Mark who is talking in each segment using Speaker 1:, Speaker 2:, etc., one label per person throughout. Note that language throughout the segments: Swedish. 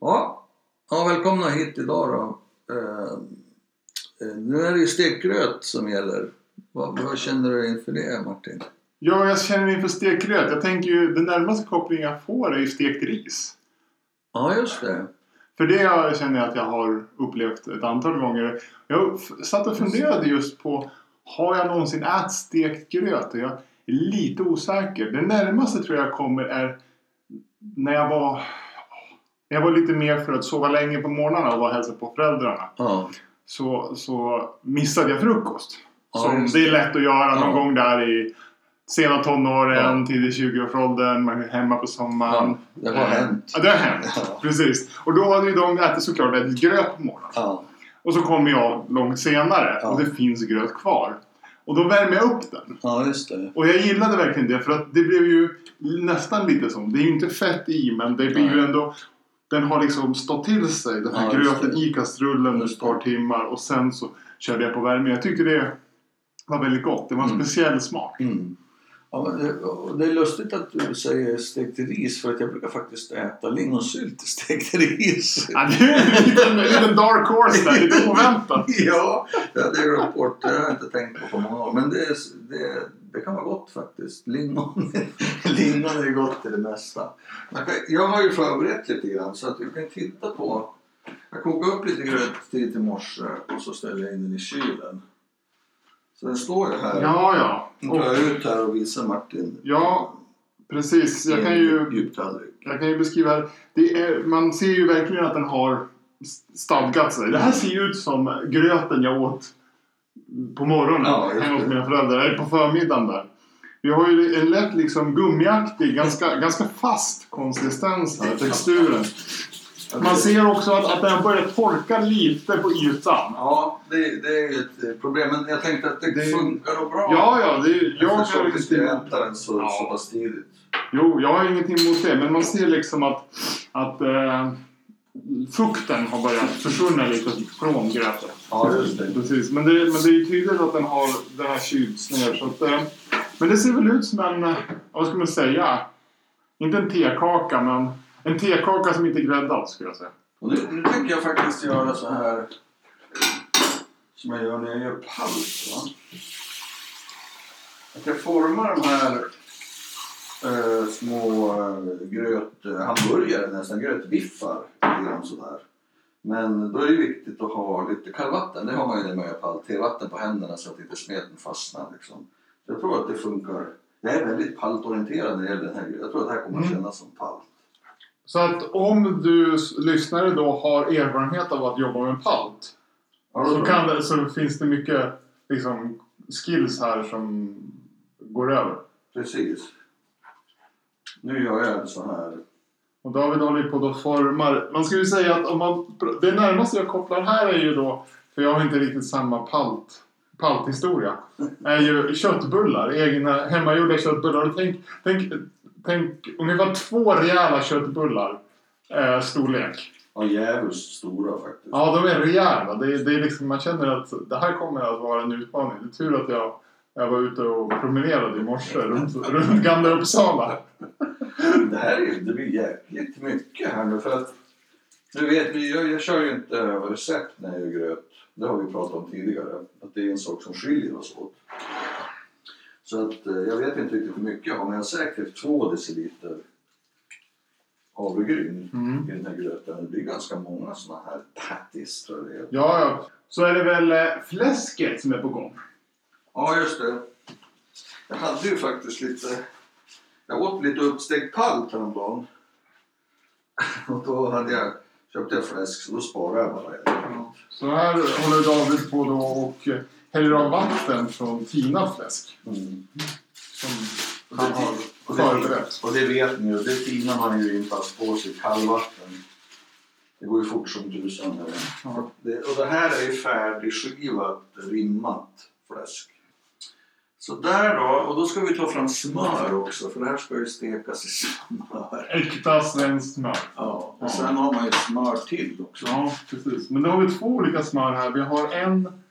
Speaker 1: Ja. ja, välkomna hit idag då. Eh, eh, nu är det ju stekgröt som gäller. Vad, vad känner du inför det Martin?
Speaker 2: Ja, jag känner inför stekgröt. Jag tänker ju, den närmaste kopplingen jag får är ju stekt ris.
Speaker 1: Ja, just det.
Speaker 2: För det jag känner jag att jag har upplevt ett antal gånger. Jag f- satt och funderade just på, har jag någonsin ätit stekt gröt? Och jag är lite osäker. Det närmaste tror jag kommer är när jag var, när jag var lite mer för att sova länge på morgnarna och vara och hälsa på föräldrarna.
Speaker 1: Ja,
Speaker 2: så, så missade jag frukost.
Speaker 1: Ja,
Speaker 2: som
Speaker 1: just
Speaker 2: det är lätt att göra någon
Speaker 1: Ja.
Speaker 2: gång där i sena tonåren,
Speaker 1: Ja.
Speaker 2: tidig 20-årsåldern, man är hemma på sommaren.
Speaker 1: Ja, det har
Speaker 2: Eh,
Speaker 1: hänt.
Speaker 2: Ja, det har hänt.
Speaker 1: Ja.
Speaker 2: Precis. Och då hade ju de ätit såklart ätit gröt på morgonen.
Speaker 1: ja,
Speaker 2: Och så kommer jag långt senare
Speaker 1: Ja.
Speaker 2: och det finns gröt kvar. Och då värmer jag upp den.
Speaker 1: ja just det.
Speaker 2: Och jag gillade verkligen det för att det blev ju nästan lite som, det är ju inte fett i men det blir ju
Speaker 1: Nej.
Speaker 2: ändå den har liksom stått till sig den här
Speaker 1: Ja, just
Speaker 2: gröten i kastrullen
Speaker 1: Just
Speaker 2: ett par timmar och sen så körde jag på värme. Jag tyckte det var väldigt gott. Det var en
Speaker 1: Mm.
Speaker 2: speciell smak.
Speaker 1: Mm. Ja, men det, och det är lustigt att du säger stekt ris för att jag brukar faktiskt äta lingonsylt till stekt ris.
Speaker 2: Ja, det är en liten, en liten dark horse där, lite oväntat.
Speaker 1: ja, det hade jag glömt bort. Det har jag inte tänkt på på många år. Men det, är, det, det kan vara gott faktiskt. Lingon, lingon är gott till det mesta. Man kan- Jag har ju förberett lite grann så att du kan titta på. Jag kokade upp lite gröt tidigt i morse och så ställer jag in den i kylen. Så den står ju här.
Speaker 2: Ja, ja.
Speaker 1: Nu tar
Speaker 2: Och,
Speaker 1: jag ut här och visar Martin.
Speaker 2: ja, precis. Jag kan ju
Speaker 1: Djuptallrik.
Speaker 2: Jag kan ju beskriva det. det. Är, man ser ju verkligen att den har st- stadgat sig. Det här ser ju ut som gröten jag åt på morgonen
Speaker 1: Ja, just
Speaker 2: hemma hos
Speaker 1: det.
Speaker 2: mina föräldrar. Eller på förmiddagen där. Vi har ju en lätt liksom gummiaktig, ganska, ganska fast konsistens här, texturen. Man ser också att, att den börjar torka lite på ytan.
Speaker 1: Ja, det, det är ju ett eh, problem. Men jag tänkte att det,
Speaker 2: Det-
Speaker 1: funkar och bra.
Speaker 2: Ja, ja, det, jag
Speaker 1: Jag
Speaker 2: har
Speaker 1: förstår att
Speaker 2: ingenting
Speaker 1: vi
Speaker 2: emot
Speaker 1: äta den så,
Speaker 2: Ja.
Speaker 1: så pass tidigt.
Speaker 2: Jo, jag har ingenting emot det, men man ser liksom att, att eh, fukten har börjat försvinna lite från gröten.
Speaker 1: Ja, just det.
Speaker 2: Precis, men det, men det är ju tydligt att den har den här kylts ner. Så att, eh, men det ser väl ut som en, eh, vad ska man säga? Inte en tekaka, men en tekaka som inte är gräddad skulle jag säga.
Speaker 1: Och nu, nu tänker jag faktiskt göra så här som jag gör när jag gör palt. Va? Att jag formar de här eh, små eh, gröthamburgare, nästan grötbiffar. lite grann Sådär. Men då är det viktigt att ha lite kallvatten. Det har man ju när man gör palt. Tevatten på händerna så att inte smeten fastnar. Liksom. Jag tror att det funkar. Jag är väldigt paltorienterad när det gäller den här gröten. Jag tror att det här kommer att
Speaker 2: Mm.
Speaker 1: kännas som palt.
Speaker 2: Så att om du s- lyssnare då har erfarenhet av att jobba med palt
Speaker 1: Ja, då
Speaker 2: så,
Speaker 1: tror
Speaker 2: kan, det- så finns det mycket liksom, skills här som går över.
Speaker 1: Precis. Nu gör jag en sån här.
Speaker 2: Och David håller ju på och formar. Man skulle ju säga att om man, det närmaste jag kopplar här är ju då, för jag har inte riktigt samma palt, palthistoria, är ju köttbullar. Egna hemmagjorda köttbullar. Och Tänk, tänk, tänk ungefär två rejäla köttbullar eh, storlek.
Speaker 1: Ja, djävulskt stora faktiskt.
Speaker 2: Ja, de är rejäla. Det, är- det är liksom, man känner att det här kommer att vara en utmaning. Det är tur att jag, jag var ute och promenerade i morse runt, runt Gamla Uppsala.
Speaker 1: Det här är, ju- det blir jäkligt mycket här nu för att du vet, vi- jag, jag kör ju inte recept när jag gör gröt. Det har vi pratat om tidigare. Att det är en sak som skiljer oss åt. Så att eh, jag vet inte riktigt hur mycket jag har men jag har säkert två deciliter havregryn
Speaker 2: Mm.
Speaker 1: i den här gröten. Det blir ganska många såna här patties tror jag det är.
Speaker 2: Ja, ja. Så är det väl eh, fläsket som är på gång.
Speaker 1: Ja, just det. Jag hade ju faktiskt lite... Jag åt lite uppstekt palt häromdagen. Och då hade jag, köpte jag fläsk, så då sparade jag bara det.
Speaker 2: Så här håller David på då och eh, häller av vatten från tinad fläsk.
Speaker 1: Mm.
Speaker 2: Som
Speaker 1: Och,
Speaker 2: han har
Speaker 1: det,
Speaker 2: förberett.
Speaker 1: och det vet ni ju, det tinar man ju inte alls på sig kallvatten. Det går ju fort som tusan. det där.
Speaker 2: Ja.
Speaker 1: Det, och det här är ju färdigskivat, rimmat fläsk. Så där då, och då ska vi ta fram smör också, för det här ska ju stekas i smör.
Speaker 2: Äkta svenskt smör.
Speaker 1: Ja, och sen har man ju smör till också.
Speaker 2: Ja, precis. Men då har vi två olika smör här. Vi har en...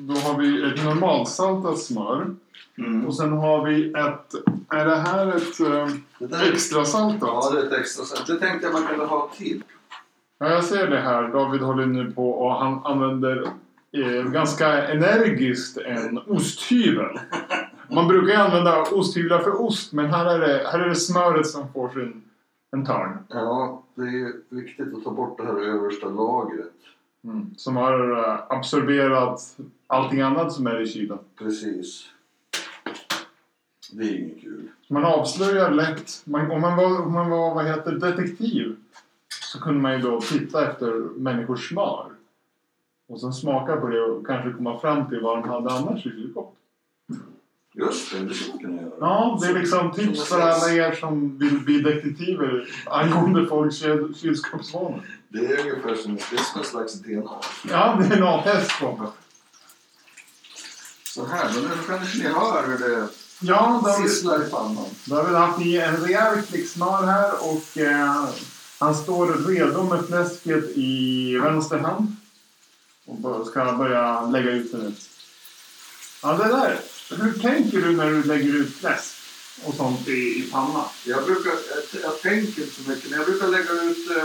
Speaker 2: Då har vi ett normalsaltat smör.
Speaker 1: Mm.
Speaker 2: Och sen har vi ett... Är det här ett eh,
Speaker 1: Det där,
Speaker 2: extra saltat?
Speaker 1: ja, det är ett extra. så Det tänkte jag man kunde ha till.
Speaker 2: Ja, jag ser det här. David håller nu på och han använder eh, ganska energiskt en osthyvel. Man brukar ju använda osthyvlar för ost, men här är det, här är det smöret som får sin, en törn.
Speaker 1: Ja, det är ju viktigt att ta bort det här översta lagret.
Speaker 2: Som har eh, absorberat allting annat som är i kylen.
Speaker 1: Precis. Det är inget kul.
Speaker 2: Man avslöjar lätt. Man, om, man var, om man var vad heter, detektiv så kunde man ju då titta efter människors smör. Och sen smaka på det och kanske komma fram till vad de hade annars i kylskåpet.
Speaker 1: Just det, det skulle man kunna göra.
Speaker 2: Ja, det är liksom tips för alla er som vill bli detektiver angående folks kyl- kylskåpsvanor.
Speaker 1: Det är ungefär som det är som en slags DNA.
Speaker 2: Ja, det är en A-test på det.
Speaker 1: Så här, men nu kanske ni hör hur det
Speaker 2: Ja, då har, vi,
Speaker 1: sisslar i pannan.
Speaker 2: då har vi haft i en rejäl klicksmör här och eh, han står redo med fläsket i vänster hand. Och bör- ska börja lägga ut det nu. Ja, det där. Hur tänker du när du lägger ut fläsk och sånt i, i panna?
Speaker 1: Jag brukar, jag, jag tänker inte så mycket, men jag brukar lägga ut eh,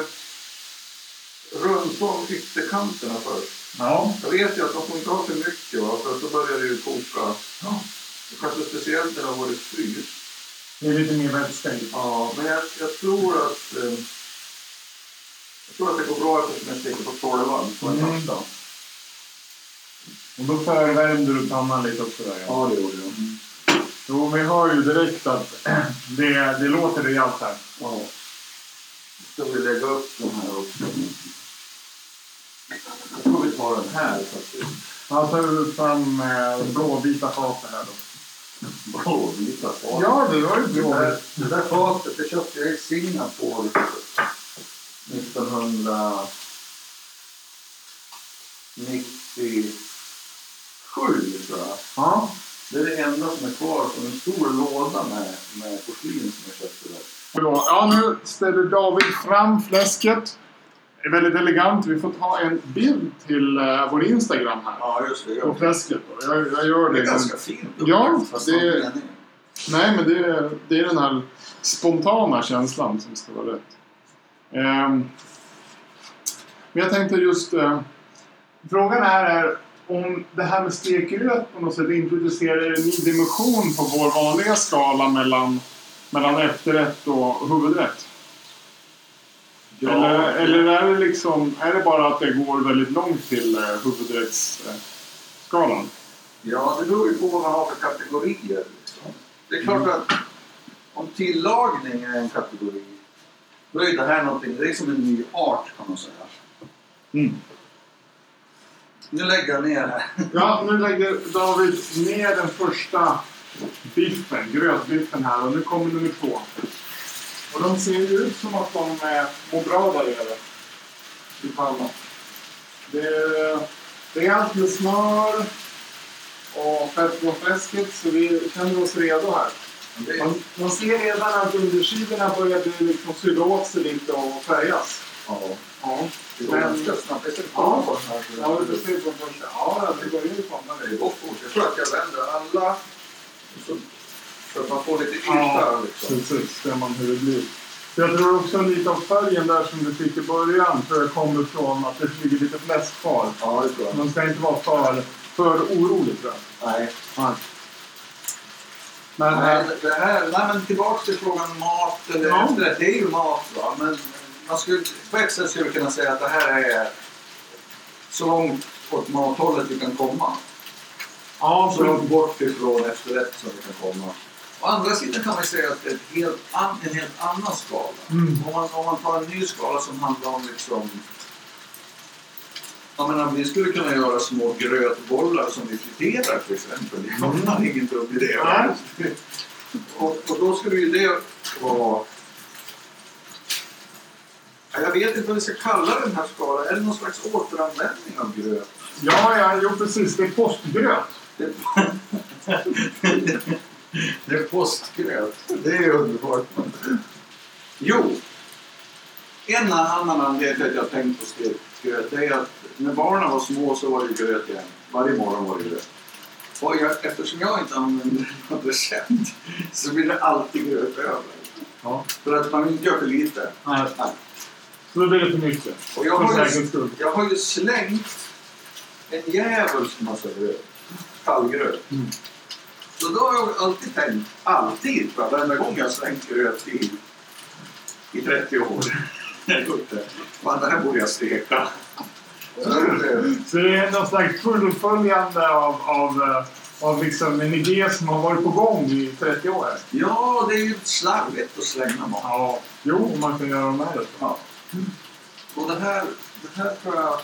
Speaker 1: runt om ytterkanterna först.
Speaker 2: Ja.
Speaker 1: Jag vet ju att man får inte ha för mycket, va? för att då börjar det ju koka.
Speaker 2: ja.
Speaker 1: Kanske speciellt när det har varit fryst.
Speaker 2: Det är lite mer vätska i.
Speaker 1: Ja, men jag, jag tror att eh, jag tror att det går bra eftersom jag steker på tolvan på en
Speaker 2: Mm.
Speaker 1: första.
Speaker 2: Och då förvärmde du pannan lite också där ja.
Speaker 1: Ja, det gjorde jag.
Speaker 2: Jo, vi hör ju direkt att det, det låter rejält här.
Speaker 1: Ja. Ska vi lägga upp den här också? Jag tror vi tar den här faktiskt.
Speaker 2: Han tar fram eh, blåvita fatet här då.
Speaker 1: Blåvita fat.
Speaker 2: Ja, det var ju
Speaker 1: Det
Speaker 2: blåvitt.
Speaker 1: där, det där fatet det köpte jag i Singapore 1997 tror jag.
Speaker 2: Ja.
Speaker 1: Det är det enda som är kvar från en stor låda med, med porslin som jag köpte där.
Speaker 2: Bra. ja, nu ställer David fram fläsket. Det är väldigt elegant. Vi får ta en bild till eh, vår Instagram här.
Speaker 1: Ja, just det.
Speaker 2: På fläsket då. Jag, jag gör
Speaker 1: Det
Speaker 2: det.
Speaker 1: är ganska fint
Speaker 2: Ja,
Speaker 1: upplagt, fast
Speaker 2: det-
Speaker 1: det är inte meningen.
Speaker 2: Nej, men det är, det är den här spontana känslan som ska vara rätt. Ehm, men jag tänkte just... Eh, frågan här är om det här med stekröt på något sätt introducerar en ny dimension på vår vanliga skala mellan, mellan efterrätt och huvudrätt.
Speaker 1: Ja.
Speaker 2: Eller, eller är, det liksom, är det bara att det går väldigt långt till eh, huvudrättsskalan?
Speaker 1: Ja, det beror ju på vad man har för kategorier. Liksom. Det är klart att om tillagning är en kategori, då är det här någonting, det är som en ny art kan man säga.
Speaker 2: Mm.
Speaker 1: Nu lägger jag ner här.
Speaker 2: Ja, nu lägger David ner den första biffen, grötbiffen här och nu kommer nummer två. Och de ser ju ut som att de eh, mår bra där nere i pannan. Det är rejält med smör och fett på fläsket så vi känner oss redo här.
Speaker 1: Det,
Speaker 2: Man, man ser redan att undersidorna börjar bli liksom sura åt sig lite och färgas.
Speaker 1: ja,
Speaker 2: Ja,
Speaker 1: det går ganska snabbt. Jag sätter
Speaker 2: Ja.
Speaker 1: på den här. så
Speaker 2: ja
Speaker 1: det-
Speaker 2: vi får se på första. Ja, det börjar ju komma
Speaker 1: Det
Speaker 2: nu.
Speaker 1: går fort. Jag tror att jag vänder alla så, så att man får lite yta.
Speaker 2: Ja,
Speaker 1: liksom.
Speaker 2: precis. Ser man hur det blir. Jag tror också lite av färgen där som du fick i början tror jag kommer från att det ligger lite fläsk kvar.
Speaker 1: Ja, det tror jag.
Speaker 2: Man ska inte vara för, för orolig tror jag.
Speaker 1: Nej.
Speaker 2: Nej. Men,
Speaker 1: Nej,
Speaker 2: eh,
Speaker 1: det här, nej, men tillbaka till frågan om mat eller
Speaker 2: Ja.
Speaker 1: efterrätt. Det är ju mat va. Men man skulle, på ett sätt skulle jag kunna säga att det här är så långt åt mathållet vi kan komma.
Speaker 2: ja,
Speaker 1: Så
Speaker 2: så,
Speaker 1: långt bort ifrån efterrätt som vi kan komma. Å andra sidan kan man säga att det är ett helt an, en helt annan skala.
Speaker 2: Mm.
Speaker 1: Om, man, om man tar en ny skala som handlar om liksom jag menar, vi skulle kunna göra små grötbollar som vi friterar till exempel. Det
Speaker 2: Mm.
Speaker 1: är fan ingen dum idé. va? Och, och då skulle ju det vara... Ja, Jag vet inte vad vi ska kalla den här skalan. Är det någon slags återanvändning av gröt?
Speaker 2: ja, ja, jo precis. Det är postgröt.
Speaker 1: Det- Det är påskgröt. Det är underbart. Jo, en annan anledning till att jag har tänkt på stekgröt det är att när barnen var små så var det ju gröt igen. Varje morgon var det gröt. Och jag, eftersom jag inte använder något recept så blir det alltid gröt över.
Speaker 2: Ja.
Speaker 1: För att man inte gör för lite.
Speaker 2: Nej.
Speaker 1: Nej.
Speaker 2: Så Då blir det för mycket.
Speaker 1: Och jag
Speaker 2: för
Speaker 1: har ju-
Speaker 2: säkerhets skull.
Speaker 1: Jag har ju slängt en djävulsk massa gröt. Kallgröt.
Speaker 2: Mm.
Speaker 1: Så då har jag alltid tänkt, alltid, va, varenda gång jag har slängt gröt i, i 30 år. Jag har gjort det. Fan, det här borde jag steka. Så det-
Speaker 2: Så det är någon slags fullföljande av, av, eh, av liksom en idé som har varit på gång i 30 år.
Speaker 1: Ja, det är ju slarvigt att slänga mat.
Speaker 2: Ja, jo, man kan göra de här.
Speaker 1: Ja. Och det här, det här tror jag...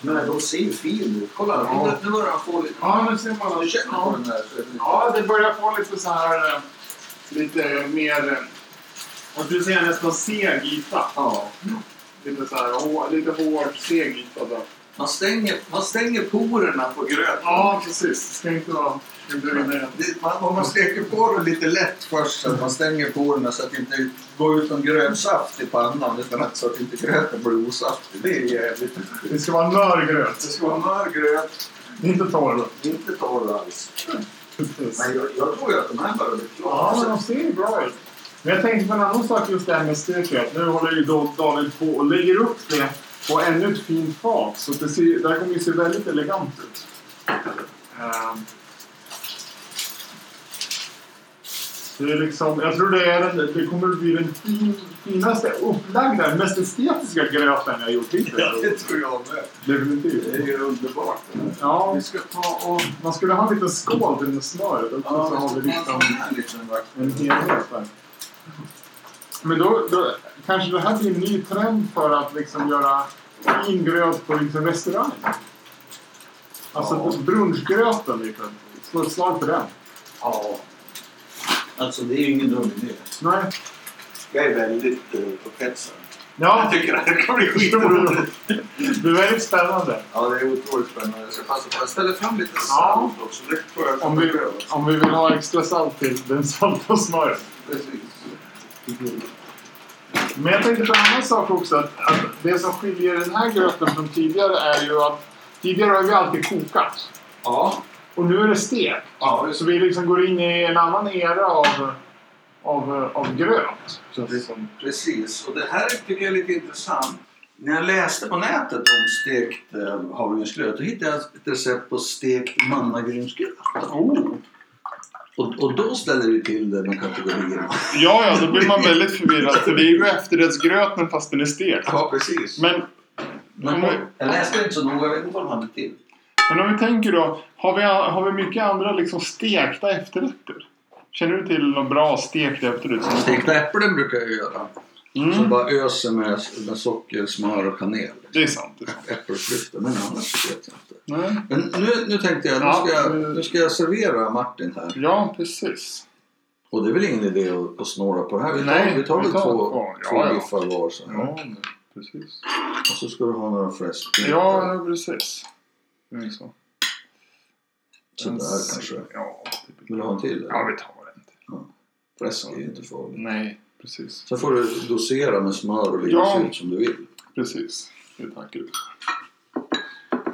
Speaker 1: Men de ser ju fin ut. Kolla,
Speaker 2: Ja.
Speaker 1: nu, nu börjar han få lite...
Speaker 2: Ja, nu ser man.
Speaker 1: Du känner på den här. så är det-
Speaker 2: Ja, det börjar få lite så här eh, lite mer, eh, vad skulle jag säga, nästan seg yta.
Speaker 1: Ja.
Speaker 2: Lite så här hår, lite hård, seg yta där.
Speaker 1: Man stänger, man stänger porerna på gröten.
Speaker 2: Ja, precis. Det ska inte vara... Inte rinna igen.
Speaker 1: Det- Man, om man steker på den lite lätt först så att man stänger porerna så att det inte går ut någon grönsaft i pannan utan att, så att inte gröten blir osaftig. Det är jävligt
Speaker 2: Det ska vara mör gröt,
Speaker 1: Det ska vara mör gröt,
Speaker 2: inte torr.
Speaker 1: inte torr alls.
Speaker 2: Precis.
Speaker 1: Men jag, jag tror ju att de här börjar bli klara.
Speaker 2: Ja, men de ser ju bra ut. Men jag tänkte på en annan sak just det här med steket. Nu håller ju då David på och lägger upp det på ännu ett fint fat. Så det, ser, det här kommer ju se väldigt elegant ut. Ehm. Det är liksom, jag tror det, är den, det kommer bli den fin, finaste upplagda, mest estetiska gröten jag gjort
Speaker 1: Ja, det
Speaker 2: hittills.
Speaker 1: tror jag med.
Speaker 2: Definitivt.
Speaker 1: Det är ju underbart. det här.
Speaker 2: Ja,
Speaker 1: Vi ska ta och...
Speaker 2: man skulle ha en liten skål till med smöret och
Speaker 1: Ja,
Speaker 2: så har vi
Speaker 1: vi ska ta en
Speaker 2: liksom
Speaker 1: sån här liten vacker.
Speaker 2: en helhet där. Men då, då kanske det här blir en ny trend för att liksom göra ingröt på liksom restaurang. Alltså
Speaker 1: Ja.
Speaker 2: brunchgröten liksom. Slå ett slag för den.
Speaker 1: Ja. Alltså, det är ju ingen dum idé.
Speaker 2: Nej.
Speaker 1: Jag är väldigt eh, på petsen.
Speaker 2: Ja,
Speaker 1: tycker att det kommer bli
Speaker 2: det är väldigt spännande.
Speaker 1: Ja, det är otroligt spännande. Jag ska passa på. Jag ställer fram lite
Speaker 2: Ja.
Speaker 1: salt också. Det tror jag
Speaker 2: Om
Speaker 1: kommer
Speaker 2: vi,
Speaker 1: behövas.
Speaker 2: om vi vill ha extra salt till den salta smöret.
Speaker 1: Precis.
Speaker 2: Men jag tänkte på en annan sak också. Att, att det som skiljer den här gröten från tidigare är ju att tidigare har vi alltid kokat.
Speaker 1: Ja.
Speaker 2: Och nu är det stekt.
Speaker 1: Ja,
Speaker 2: Så vi liksom går in i en annan era av, av, av gröt. liksom- känns det som.
Speaker 1: precis. Och det här tycker jag är lite intressant. När jag läste på nätet om stekt eh, havregrynsgröt då hittade jag ett recept på stekt mannagrynsgröt.
Speaker 2: Oh.
Speaker 1: Och, och då ställer det till det med kategorierna.
Speaker 2: Ja, ja, då blir man väldigt förvirrad. För det är ju efterrättsgröt men fast den är stekt.
Speaker 1: Ja, precis.
Speaker 2: Men,
Speaker 1: Men, jag läste inte så noga. Jag vet inte vad de hade till.
Speaker 2: men om vi tänker då. Har vi, har vi mycket andra liksom stekta efterrätter? Känner du till någon bra stekt efterrätt? som-
Speaker 1: Stekta äpplen brukar jag göra. Som
Speaker 2: Mm,
Speaker 1: bara öser med, med socker, smör och kanel.
Speaker 2: det är sant. Det är sant.
Speaker 1: Äppelfrukter, men annars vet jag inte.
Speaker 2: Nej.
Speaker 1: Men nu, nu tänkte jag, nu
Speaker 2: Ja,
Speaker 1: ska jag,
Speaker 2: men-
Speaker 1: nu ska jag servera Martin här.
Speaker 2: Ja, precis.
Speaker 1: Och det är väl ingen idé att, att snåla på det här. Vi tar,
Speaker 2: Nej,
Speaker 1: vi tar
Speaker 2: vi
Speaker 1: väl
Speaker 2: tar
Speaker 1: två,
Speaker 2: ett par. Ja,
Speaker 1: två
Speaker 2: ja.
Speaker 1: biffar var så här.
Speaker 2: Ja, precis.
Speaker 1: Och så ska du ha några fläskbitar.
Speaker 2: Ja, precis. Det är så. Mm.
Speaker 1: Sådär kanske.
Speaker 2: Ja, det
Speaker 1: Vill du ha en till?
Speaker 2: Ja, vi tar en till.
Speaker 1: Fläsk är ju inte farligt.
Speaker 2: Nej, precis.
Speaker 1: Sen får du dosera med smör och lite
Speaker 2: Ja.
Speaker 1: sylt som du vill.
Speaker 2: Precis. Det tackar du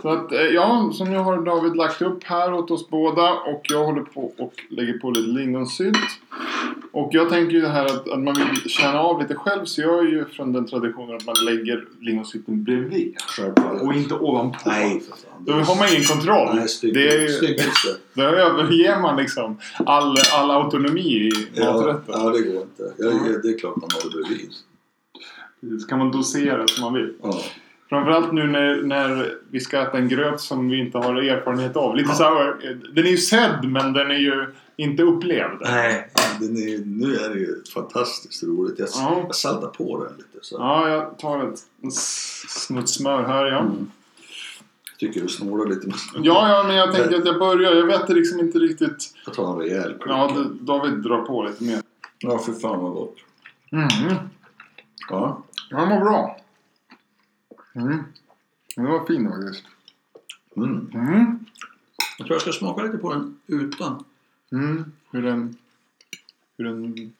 Speaker 2: Så att, eh, ja, som nu har David lagt upp här åt oss båda och jag håller på och lägger på lite lingonsylt. Och jag tänker ju det här att, att man vill känna av lite själv så jag är ju från den traditionen att man lägger lingonsylten bredvid
Speaker 1: Självfallet.
Speaker 2: och inte ovanpå.
Speaker 1: Nej, för fan.
Speaker 2: Då har man ingen kontroll.
Speaker 1: Nej, snygg-
Speaker 2: det är ju,
Speaker 1: snyggelse.
Speaker 2: då överger man liksom all, all autonomi i
Speaker 1: Ja,
Speaker 2: maträtten.
Speaker 1: ja, det går inte. Ja,
Speaker 2: Ja.
Speaker 1: Det är klart man har det bredvid.
Speaker 2: Så kan man dosera som man vill.
Speaker 1: Ja.
Speaker 2: Framförallt nu när, när vi ska äta en gröt som vi inte har erfarenhet av. Lite så här, eh, den är ju sedd men den är ju inte upplevd.
Speaker 1: Nej. Den är, nu är det ju fantastiskt roligt. Jag,
Speaker 2: Ja.
Speaker 1: jag saltar på den lite. Så.
Speaker 2: Ja, jag tar ett s- snutt smör här ja.
Speaker 1: Tycker du snålar lite. men
Speaker 2: Ja, ja, men jag tänkte att jag börjar. Jag vet liksom inte riktigt.
Speaker 1: Jag tar en rejäl klunk.
Speaker 2: Ja, D- David drar på lite mer.
Speaker 1: Ja, för fan vad gott.
Speaker 2: Mm.
Speaker 1: Ja.
Speaker 2: Ja, Den var bra. Mm. Den var fin faktiskt.
Speaker 1: Mm.
Speaker 2: Mm.
Speaker 1: Jag tror jag ska smaka lite på den utan.
Speaker 2: Mm. Hur den... Hur den...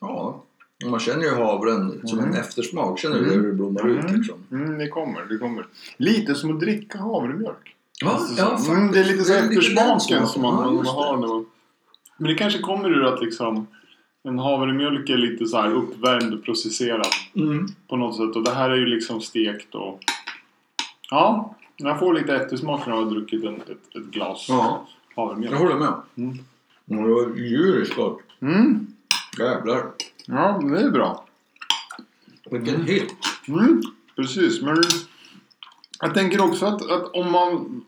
Speaker 1: Ja. Man känner ju havren som
Speaker 2: Mm.
Speaker 1: en eftersmak. Känner du
Speaker 2: Mm.
Speaker 1: det hur det blommar ut liksom?
Speaker 2: Mm, det kommer, det kommer. Lite som att dricka havremjölk.
Speaker 1: Ja,
Speaker 2: Alltså,
Speaker 1: ja,
Speaker 2: så,
Speaker 1: faktiskt.
Speaker 2: mm, det är lite så
Speaker 1: Det är lite den
Speaker 2: eftersmaken
Speaker 1: smaken.
Speaker 2: som man,
Speaker 1: Ja,
Speaker 2: man
Speaker 1: just
Speaker 2: har
Speaker 1: det.
Speaker 2: när man... Men det kanske kommer ur att liksom en havremjölk är lite så här uppvärmd och processerad
Speaker 1: Mm.
Speaker 2: på något sätt. Och det här är ju liksom stekt och... Ja, jag får lite eftersmak när jag har druckit en, ett, ett glas
Speaker 1: Ja, jag
Speaker 2: havremjölk.
Speaker 1: håller med.
Speaker 2: Mm.
Speaker 1: Mm, det var djuriskt gott.
Speaker 2: Mm,
Speaker 1: Jävlar.
Speaker 2: ja, det är bra.
Speaker 1: Vilken hit.
Speaker 2: Mm, precis, men jag tänker också att, att om man...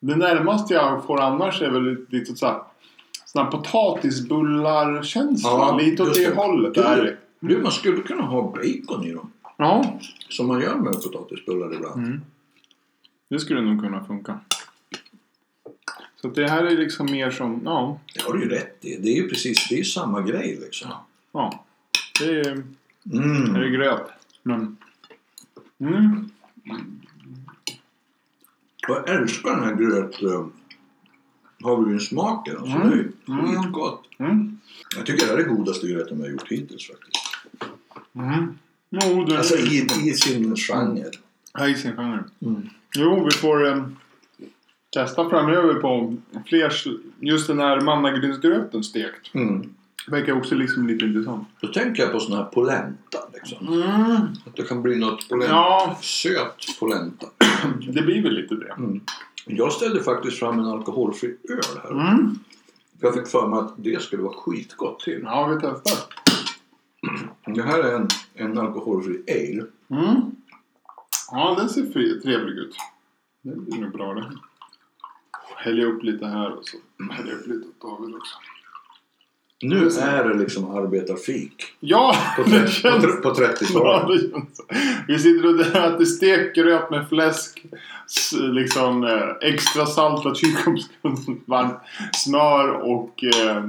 Speaker 2: Det närmaste jag får annars är väl lite så här, såna här potatisbullar-känsla.
Speaker 1: Ja,
Speaker 2: lite åt
Speaker 1: just
Speaker 2: det
Speaker 1: det.
Speaker 2: hållet. Där.
Speaker 1: Du, man skulle kunna ha bacon i dem.
Speaker 2: Ja,
Speaker 1: Som man gör med potatisbullar ibland.
Speaker 2: Mm. det skulle nog kunna funka. Så att det här är liksom mer som... Ja,
Speaker 1: Det har du ju rätt i. Det är ju precis, det är ju samma grej liksom.
Speaker 2: ja. Det är, är det
Speaker 1: Mm.
Speaker 2: gröt. Men, mm,
Speaker 1: Jag älskar den här gröt... eh, havregrynsmaken. Alltså,
Speaker 2: Mm.
Speaker 1: det är ju
Speaker 2: Mm.
Speaker 1: skitgott.
Speaker 2: mm,
Speaker 1: Jag tycker det här är godaste gröten jag har gjort hittills faktiskt.
Speaker 2: mm. Jo, det
Speaker 1: Alltså i, i sin genre.
Speaker 2: Ja, i sin genre.
Speaker 1: Mm.
Speaker 2: Jo, vi får em, testa framöver på fler... s- Just den här mannagrynsgröten stekt.
Speaker 1: Mm.
Speaker 2: Verkar också liksom lite intressant.
Speaker 1: Då tänker jag på sån här polenta liksom.
Speaker 2: Mm.
Speaker 1: Att det kan bli något polenta.
Speaker 2: Ja,
Speaker 1: Söt polenta.
Speaker 2: det blir väl lite det.
Speaker 1: Jag ställde faktiskt fram en alkoholfri öl här.
Speaker 2: Mm.
Speaker 1: För jag fick för mig att det skulle vara skitgott till.
Speaker 2: Ja, vi testar.
Speaker 1: Det här är en, en alkoholfri ale.
Speaker 2: Mm. Ja, den ser fri- trevlig ut. Det blir nog bra det. Häller upp lite här och så häller jag upp lite åt David också.
Speaker 1: Nu är det liksom arbetarfik.
Speaker 2: Ja,
Speaker 1: På,
Speaker 2: det
Speaker 1: tre- på,
Speaker 2: känns
Speaker 1: tre- på 30
Speaker 2: Ja,
Speaker 1: talet
Speaker 2: det känns så. Vi sitter och äter stekgröt med fläsk, s- liksom eh, extra saltat kyrkomskum, varmt smör och eh,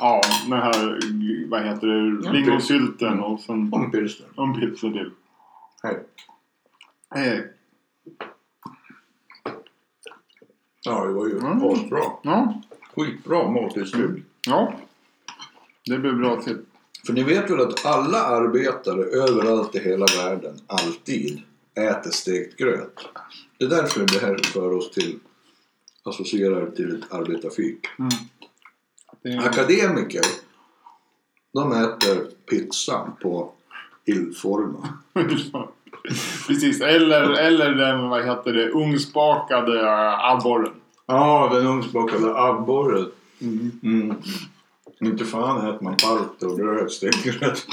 Speaker 2: ja, den här, vad heter det,
Speaker 1: Ja,
Speaker 2: lingonsylten och sen
Speaker 1: Om pilsner.
Speaker 2: och en pilsner till. Eh,
Speaker 1: Hej.
Speaker 2: Hej.
Speaker 1: Ja, det var ju
Speaker 2: Mm.
Speaker 1: asbra.
Speaker 2: Ja,
Speaker 1: Skitbra måltidsdryck.
Speaker 2: ja. Det blir bra till.
Speaker 1: För ni vet väl att alla arbetare överallt i hela världen alltid äter stekt gröt. Det är därför det här för oss till associerar till ett arbetarfik.
Speaker 2: Mm. Det är,
Speaker 1: Akademiker, de äter pizza på Il Forma.
Speaker 2: precis, eller, eller den, vad heter det, ugnsbakade eh, abborren.
Speaker 1: Ja, den ugnsbakade abborren.
Speaker 2: Mm.
Speaker 1: Mm. Inte fan äter man palter och rödstekt gröt.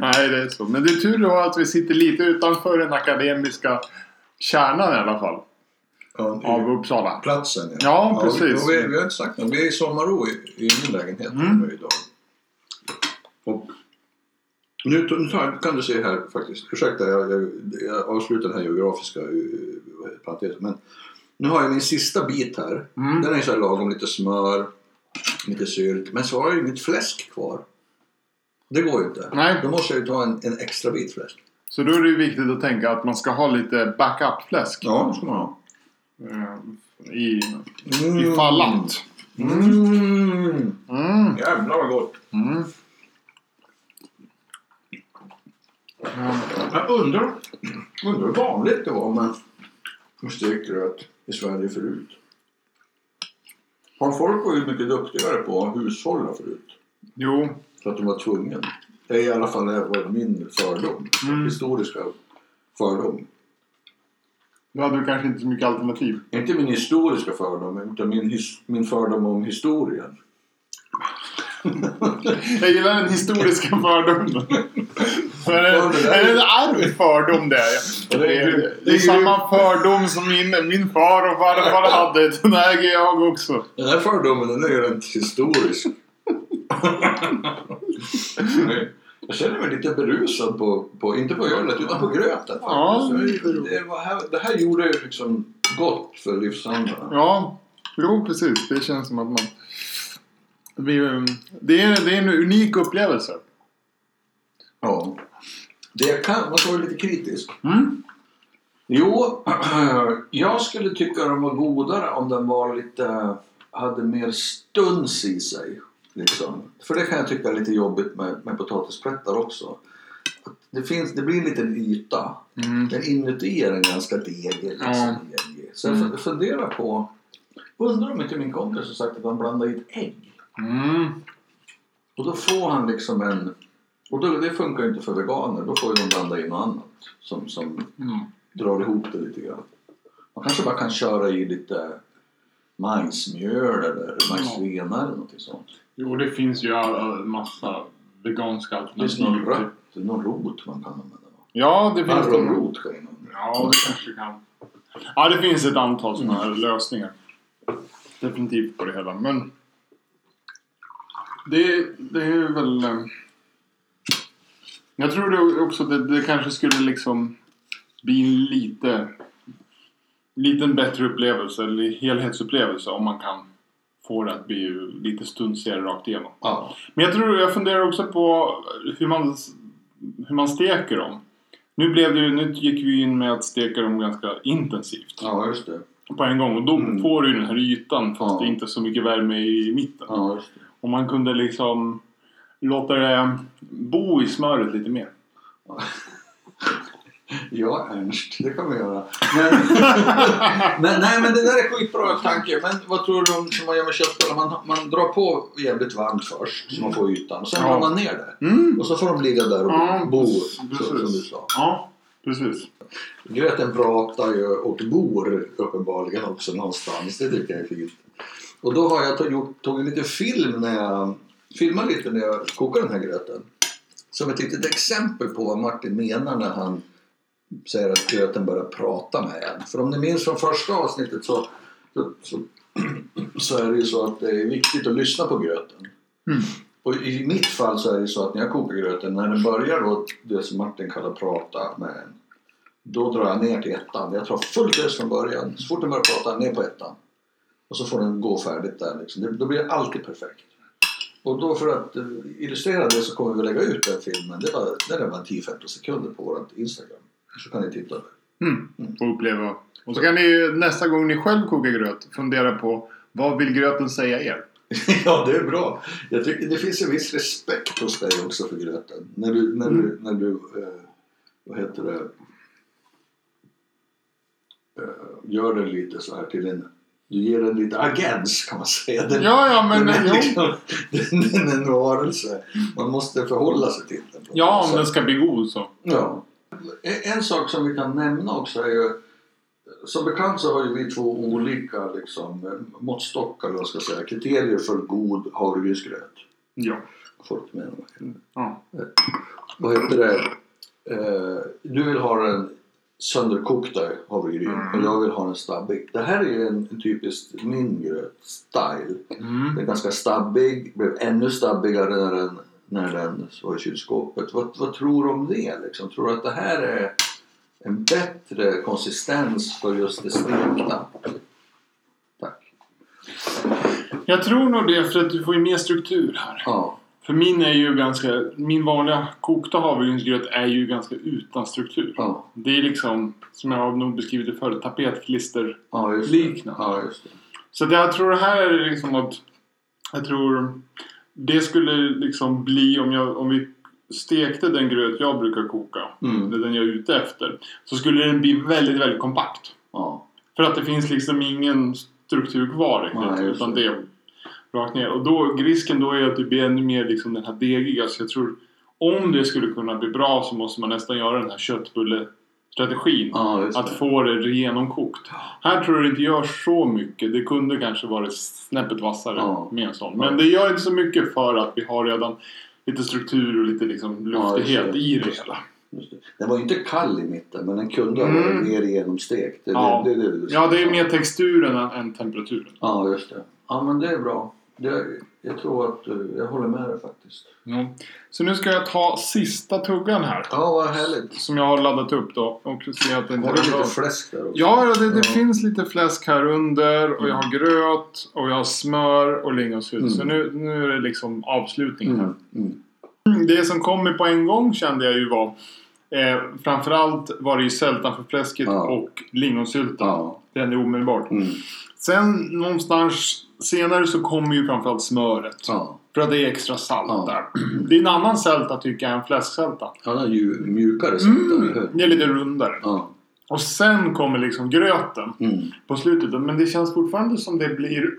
Speaker 2: Nej, det är så. Men det är tur då att vi sitter lite utanför den akademiska kärnan i alla fall.
Speaker 1: Ja, det är
Speaker 2: Av Uppsala.
Speaker 1: platsen.
Speaker 2: Ja, precis.
Speaker 1: vi, vi, vi har inte sagt något. Vi Mm. är i sommarro i, i min lägenhet
Speaker 2: Mm.
Speaker 1: nu idag. Och nu, nu tar- kan du se här faktiskt. Ursäkta, jag, jag, jag avslutar den här geografiska eh, parentesen. Men nu har jag min sista bit här.
Speaker 2: Mm.
Speaker 1: Den är så här lagom, lite smör, lite sylt. Men så har jag ju inget fläsk kvar. Det går ju inte.
Speaker 2: Nej.
Speaker 1: Då måste jag ju ta en, en extra bit fläsk.
Speaker 2: Så då är det ju viktigt att tänka att man ska ha lite backup-fläsk.
Speaker 1: Ja, det ska man ha.
Speaker 2: eh, I,
Speaker 1: Mm.
Speaker 2: I fallant.
Speaker 1: Mm.
Speaker 2: Mm.
Speaker 1: Jävlar vad gott.
Speaker 2: Mm.
Speaker 1: Jag undrar, undrar hur vanligt det var med, med stekt gröt i Sverige förut. Har folk varit mycket duktigare på att hushålla förut?
Speaker 2: Jo.
Speaker 1: Så att de var tvungna. Det är i alla fall det var min fördom.
Speaker 2: Mm.
Speaker 1: Historiska fördom.
Speaker 2: Då hade du kanske inte så mycket alternativ.
Speaker 1: Inte min historiska fördom, utan min, his, min fördom om historien.
Speaker 2: Jag gillar den historiska fördomen. Men
Speaker 1: Ja, det
Speaker 2: är,
Speaker 1: där
Speaker 2: är
Speaker 1: är-
Speaker 2: det en arg fördom det?
Speaker 1: Ja,
Speaker 2: Det
Speaker 1: det är
Speaker 2: är,
Speaker 1: grymt.
Speaker 2: det
Speaker 1: Det
Speaker 2: är
Speaker 1: är
Speaker 2: samma fördom som min, min far och farfar hade. Den äger jag också.
Speaker 1: Den här fördomen den är ju rent historisk. Jag känner mig lite berusad på, på inte på ölet utan på gröten.
Speaker 2: Ja,
Speaker 1: faktiskt. det, det, var här, det här gjorde ju liksom gott för livsandarna.
Speaker 2: Ja, jo precis. Det känns som att man... Det är, det är, det är en unik upplevelse.
Speaker 1: Ja. Det kan, man ska vara lite kritisk.
Speaker 2: Mm.
Speaker 1: Jo, jag skulle tycka de var godare om den var lite, hade mer stuns i sig. Liksom. För det kan jag tycka är lite jobbigt med, med potatisplättar också. Att det, finns, det blir en liten yta.
Speaker 2: Mm.
Speaker 1: Men inuti är den ganska degig. Liksom,
Speaker 2: Ja.
Speaker 1: degig. Så jag fun- funderar på, undrar om inte min kompis har sagt att han blandar i ett ägg.
Speaker 2: Mm.
Speaker 1: Och då får han liksom en, och då, det funkar ju inte för veganer, då får ju de blanda in något annat som, som
Speaker 2: Mm.
Speaker 1: drar ihop det lite grann. Man kanske bara kan köra i lite majsmjöl eller majsvena eller någonting sånt.
Speaker 2: Jo, det finns ju äh, massa veganska
Speaker 1: Det finns någon
Speaker 2: alternativ. typ.
Speaker 1: rött, någon rot man kan använda. va?
Speaker 2: Ja, det finns de.
Speaker 1: Marronrot ska in under.
Speaker 2: Ja, det kanske kan. Ja, det finns ett antal sådana här lösningar. Definitivt på det hela, men... Det, det är väl... eh, Jag tror det också det, det kanske skulle liksom bli en lite... Liten bättre upplevelse, eller helhetsupplevelse, om man kan få det att bli lite studsigare rakt igenom.
Speaker 1: Ja.
Speaker 2: Men jag tror, jag funderar också på hur man, hur man steker dem. Nu, blev det ju, nu gick vi in med att steka dem ganska intensivt
Speaker 1: ja, just det.
Speaker 2: på en gång. Och då
Speaker 1: Mm.
Speaker 2: får du ju den här ytan fast
Speaker 1: Ja.
Speaker 2: det är inte så mycket värme i mitten.
Speaker 1: Ja, just det.
Speaker 2: Och man kunde liksom låta det bo i smöret lite mer.
Speaker 1: Ja, Ernst, det kan vi göra. Men, men, nej, men det där är skitbra tanke. Men vad tror du om som man gör med köttbullar? Man, man drar på jävligt varmt först så man får ytan. Och sen
Speaker 2: Ja.
Speaker 1: drar man ner det.
Speaker 2: Mm.
Speaker 1: Och så får de ligga där och
Speaker 2: Ja,
Speaker 1: bo,
Speaker 2: precis.
Speaker 1: så, som du sa.
Speaker 2: Ja, precis.
Speaker 1: Gröten pratar ju och bor uppenbarligen också någonstans. Det tycker jag är fint. Och då har jag tog, gjort, tog en liten film när jag filmade lite när jag kokade den här gröten. Som ett litet exempel på vad Martin menar när han säger att gröten börjar prata med en. För om ni minns från första avsnittet så, så, så, så är det ju så att det är viktigt att lyssna på gröten.
Speaker 2: Mm.
Speaker 1: Och i mitt fall så är det ju så att när jag kokar gröten, när den börjar då det som Martin kallar prata med en. Då drar jag ner till ettan. Jag tar fullt ös från början. Så fort den börjar prata, ner på ettan. Och så får den gå färdigt där. Liksom. Det, då blir det alltid perfekt. Och då för att eh, illustrera det så kommer vi lägga ut den filmen. Det var, den är bara 10-15 sekunder på vårt Instagram. Så kan ni titta.
Speaker 2: Mm. Och uppleva. Och så kan ni ju nästa gång ni själv kokar gröt fundera på vad vill gröten säga er?
Speaker 1: ja, det är bra. Jag tycker det finns en viss respekt hos dig också för gröten. När du, när du, när du eh, vad heter det, eh, gör den lite så här till en, du ger den lite agens kan man säga. Den,
Speaker 2: Ja, ja, men...
Speaker 1: den, är
Speaker 2: jo.
Speaker 1: liksom, den, den är en varelse. Man måste förhålla sig till den. på något
Speaker 2: Ja, om
Speaker 1: sätt.
Speaker 2: den ska bli god så.
Speaker 1: Ja. En, en sak som vi kan nämna också är ju som bekant så har ju vi två olika liksom, eh, måttstockar, eller vad ska jag säga, kriterier för god havregrynsgröt.
Speaker 2: Ja.
Speaker 1: Folk med mig.
Speaker 2: Ja.
Speaker 1: Vad heter det? Eh, du vill ha den sönderkokta havregryn och jag vill ha den stabbig. Det här är ju en, en typiskt min gröt-style.
Speaker 2: Mm.
Speaker 1: Den är ganska stabbig, blev ännu stabbigare när den, när den var i kylskåpet. Vad, vad tror du om det? Liksom? Tror du att det här är en bättre konsistens för just det stekta? Tack.
Speaker 2: Jag tror nog det för att du får ju mer struktur här.
Speaker 1: Ja,
Speaker 2: För min är ju ganska... Min vanliga kokta havregrynsgröt är ju ganska utan struktur.
Speaker 1: ja,
Speaker 2: Det är liksom, som jag har nog beskrivit det förut, tapetklister.
Speaker 1: ja just det.
Speaker 2: Liknande.
Speaker 1: Ja, just det.
Speaker 2: Så det, jag tror det här är liksom att... Jag tror... Det skulle liksom bli om, jag, om vi stekte den gröt jag brukar koka.
Speaker 1: Mm.
Speaker 2: Eller den jag är ute efter. Så skulle den bli väldigt, väldigt kompakt.
Speaker 1: Ja,
Speaker 2: För att det finns liksom ingen struktur kvar riktigt.
Speaker 1: Nej, just
Speaker 2: utan
Speaker 1: det.
Speaker 2: det är rakt ner. Och då, risken då är att det blir ännu mer liksom den här degiga. Så jag tror om det skulle kunna bli bra så måste man nästan göra den här köttbullestrategin.
Speaker 1: ja just
Speaker 2: Att
Speaker 1: det.
Speaker 2: få det genomkokt. Här tror jag det inte gör så mycket. Det kunde kanske varit snäppet vassare
Speaker 1: Ja.
Speaker 2: med en sån. Men det gör inte så mycket för att vi har redan lite struktur och lite liksom
Speaker 1: Ja, just det.
Speaker 2: luftighet i det hela.
Speaker 1: Just det. Den var ju inte kall i mitten men den kunde ha
Speaker 2: Mm.
Speaker 1: varit mer genomstekt. Det,
Speaker 2: Ja.
Speaker 1: det, det, det, det,
Speaker 2: Ja, det är mer texturen än, än temperaturen.
Speaker 1: Ja, just det. Ja, men det är bra. Det, jag tror att eh, jag håller med dig faktiskt.
Speaker 2: Ja. Så nu ska jag ta sista tuggan här.
Speaker 1: Ja, vad härligt.
Speaker 2: Som jag har laddat upp då. Och se att det inte
Speaker 1: Har du
Speaker 2: är bra.
Speaker 1: lite fläsk där också?
Speaker 2: Ja, det, det
Speaker 1: Ja.
Speaker 2: finns lite fläsk här under. Och jag har gröt. Och jag har smör och lingonsylt.
Speaker 1: Mm.
Speaker 2: Så nu, nu är det liksom avslutningen här.
Speaker 1: Mm. Mm.
Speaker 2: Det som kommer på en gång kände jag ju var eh, Framförallt var det ju sältan för fläsket
Speaker 1: Ja.
Speaker 2: och lingonsyltan.
Speaker 1: Ja.
Speaker 2: Den är omedelbart.
Speaker 1: Mm.
Speaker 2: Sen någonstans senare så kommer ju framförallt smöret.
Speaker 1: Ja,
Speaker 2: För att det är extra salt
Speaker 1: Ja.
Speaker 2: där. Det är en annan sälta tycker jag än fläsksälta.
Speaker 1: han är ju mjukare sälta, eller hur?
Speaker 2: Det är lite rundare.
Speaker 1: Ja.
Speaker 2: Och sen kommer liksom gröten
Speaker 1: Mm.
Speaker 2: på slutet. Men det känns fortfarande som det blir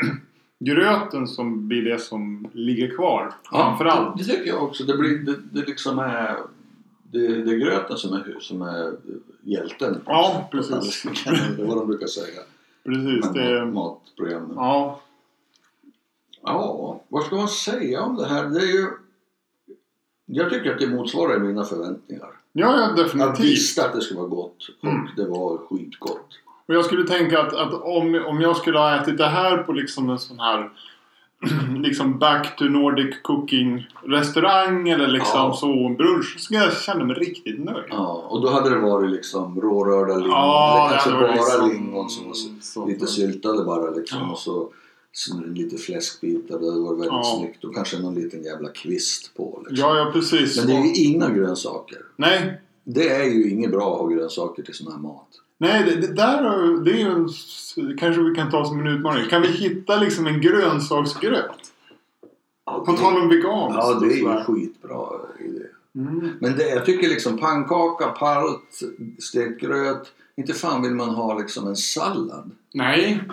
Speaker 2: gröten som blir det som ligger kvar. Framförallt.
Speaker 1: Det tycker jag också. Det, blir, det, det liksom är... Det, det är gröten som är, som är hjälten.
Speaker 2: Ja, precis.
Speaker 1: Det är vad de brukar säga.
Speaker 2: Precis. Det,
Speaker 1: Matprogrammen.
Speaker 2: ja,
Speaker 1: Ja, vad ska man säga om det här? Det är ju... Jag tycker att det motsvarar mina förväntningar.
Speaker 2: ja, ja,
Speaker 1: Jag
Speaker 2: definitivt.
Speaker 1: visste att det skulle vara gott och
Speaker 2: Mm.
Speaker 1: det var skitgott.
Speaker 2: Och jag skulle tänka att, att om, om jag skulle ha ätit det här på liksom en sån här liksom back to Nordic cooking restaurang eller liksom
Speaker 1: Ja.
Speaker 2: så brunch så skulle jag känna mig riktigt nöjd.
Speaker 1: Ja, och då hade det varit liksom rårörda lingon. eller kanske
Speaker 2: hade
Speaker 1: bara
Speaker 2: varit liksom-
Speaker 1: lingon som var s-
Speaker 2: så-
Speaker 1: lite syltade bara liksom.
Speaker 2: Ja.
Speaker 1: Och så, så lite fläskbitar. Det var väldigt
Speaker 2: Ja.
Speaker 1: snyggt. Och kanske någon liten jävla kvist på. Liksom.
Speaker 2: Ja, ja precis.
Speaker 1: Men det är ju inga grönsaker.
Speaker 2: Nej,
Speaker 1: Det är ju inget bra att ha grönsaker till sån här mat.
Speaker 2: nej det, det där har- det är ju en, kanske vi kan ta som en utmaning. Kan vi hitta liksom en grönsaksgröt? På tal om veganskt.
Speaker 1: Ja, det är
Speaker 2: och
Speaker 1: ju
Speaker 2: sådär.
Speaker 1: skitbra idé.
Speaker 2: Mm.
Speaker 1: Men det, jag tycker liksom pannkaka, palt, stekt gröt. Inte fan vill man ha liksom en sallad.
Speaker 2: Nej.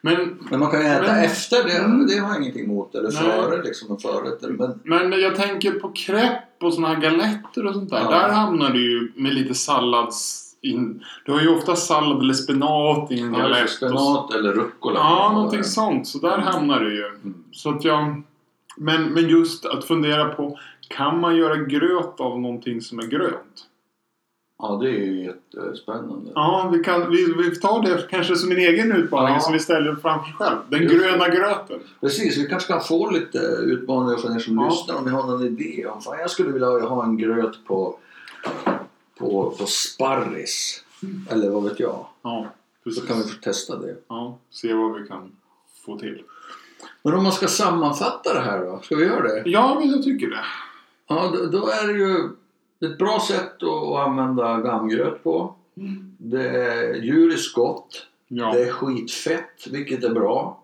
Speaker 2: Men
Speaker 1: Men man kan ju äta
Speaker 2: Men-
Speaker 1: efter det.
Speaker 2: Mm.
Speaker 1: Det har jag ingenting emot. Eller
Speaker 2: Nej.
Speaker 1: före liksom. En förrätt. eller- Men
Speaker 2: Men jag tänker på crepe och såna här galetter och sånt där.
Speaker 1: Ja.
Speaker 2: Där hamnar du ju med lite sallads... In. Du har ju ofta sallad eller spenat i en galett.
Speaker 1: eller
Speaker 2: och-
Speaker 1: spenat eller rucola.
Speaker 2: Ja, någonting sånt. Så där hamnar du ju.
Speaker 1: Mm.
Speaker 2: Så att jag... Men, men just att fundera på, kan man göra gröt av någonting som är grönt?
Speaker 1: Ja, det är ju jättespännande.
Speaker 2: Ja, vi, kan, vi, vi tar det kanske som en egen utmaning
Speaker 1: Ja.
Speaker 2: som vi ställer framför själv. Den
Speaker 1: Just det.
Speaker 2: gröna gröten.
Speaker 1: Precis, vi kanske kan få lite utmaningar från er som
Speaker 2: Ja.
Speaker 1: lyssnar om ni har någon idé om. Fan, jag skulle vilja ha en gröt på, på, på sparris. Eller vad vet jag.
Speaker 2: Ja,
Speaker 1: Så
Speaker 2: precis.
Speaker 1: kan vi få testa det.
Speaker 2: Ja, se vad vi kan få till.
Speaker 1: Men om man ska sammanfatta det här då? Ska vi göra det?
Speaker 2: Ja, men jag tycker det.
Speaker 1: Ja, då, då är det ju ett bra sätt att, att använda gammgröt på.
Speaker 2: Mm.
Speaker 1: Det är djuriskt gott.
Speaker 2: Ja.
Speaker 1: Det är skitfett, vilket är bra.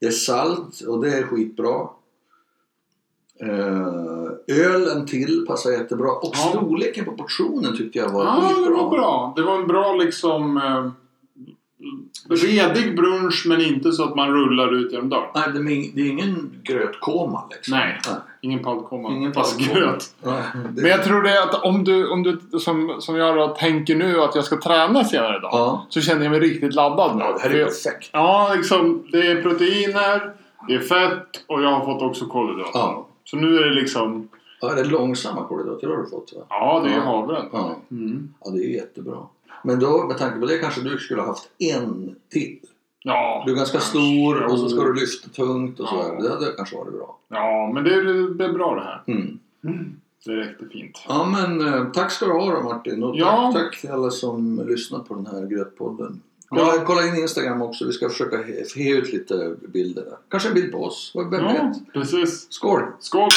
Speaker 1: Det är salt och det är skitbra. Eh, ölen till passar jättebra. Och
Speaker 2: Ja.
Speaker 1: storleken på portionen tyckte jag var
Speaker 2: Ja, det
Speaker 1: skitbra.
Speaker 2: var bra. Det var en bra liksom... Eh, redig brunch men inte så att man rullar ut genom dörren.
Speaker 1: Nej, det är ing- det är ingen grötkoma liksom.
Speaker 2: Nej. Ingen paltkomma.
Speaker 1: Ingen
Speaker 2: fast
Speaker 1: paltkomma.
Speaker 2: gröt.
Speaker 1: Nej, det-
Speaker 2: Men jag tror det är att om du, om du som, som jag då tänker nu att jag ska träna senare idag.
Speaker 1: Ja.
Speaker 2: Så känner jag mig riktigt laddad nu.
Speaker 1: ja, det här
Speaker 2: För
Speaker 1: är
Speaker 2: jag-
Speaker 1: perfekt.
Speaker 2: Ja, liksom. Det är proteiner, det är fett och jag har fått också kolhydrater.
Speaker 1: Ja.
Speaker 2: Så nu är det liksom...
Speaker 1: Ja, det är långsamma kolhydrater har du fått va?
Speaker 2: Ja, det är
Speaker 1: Ja.
Speaker 2: havren.
Speaker 1: Ja.
Speaker 2: Mm.
Speaker 1: Ja, det är jättebra. Men då, med tanke på det, kanske du skulle ha haft en till.
Speaker 2: Ja.
Speaker 1: Du är ganska
Speaker 2: kanske.
Speaker 1: stor och så ska du lyfta tungt och
Speaker 2: Ja.
Speaker 1: sådär. Det hade kanske varit bra.
Speaker 2: Ja, men det är, det är bra det här.
Speaker 1: Mm.
Speaker 2: Det räckte fint.
Speaker 1: Ja, men eh, tack ska du ha då Martin. Och
Speaker 2: Ja.
Speaker 1: tack, tack till alla som lyssnar på den här grötpodden. Kolla,
Speaker 2: Ja.
Speaker 1: kolla in Instagram också. Vi ska försöka he, he ut lite bilder där. Kanske en bild på oss. Vem vet?
Speaker 2: precis.
Speaker 1: Skål!
Speaker 2: Skål!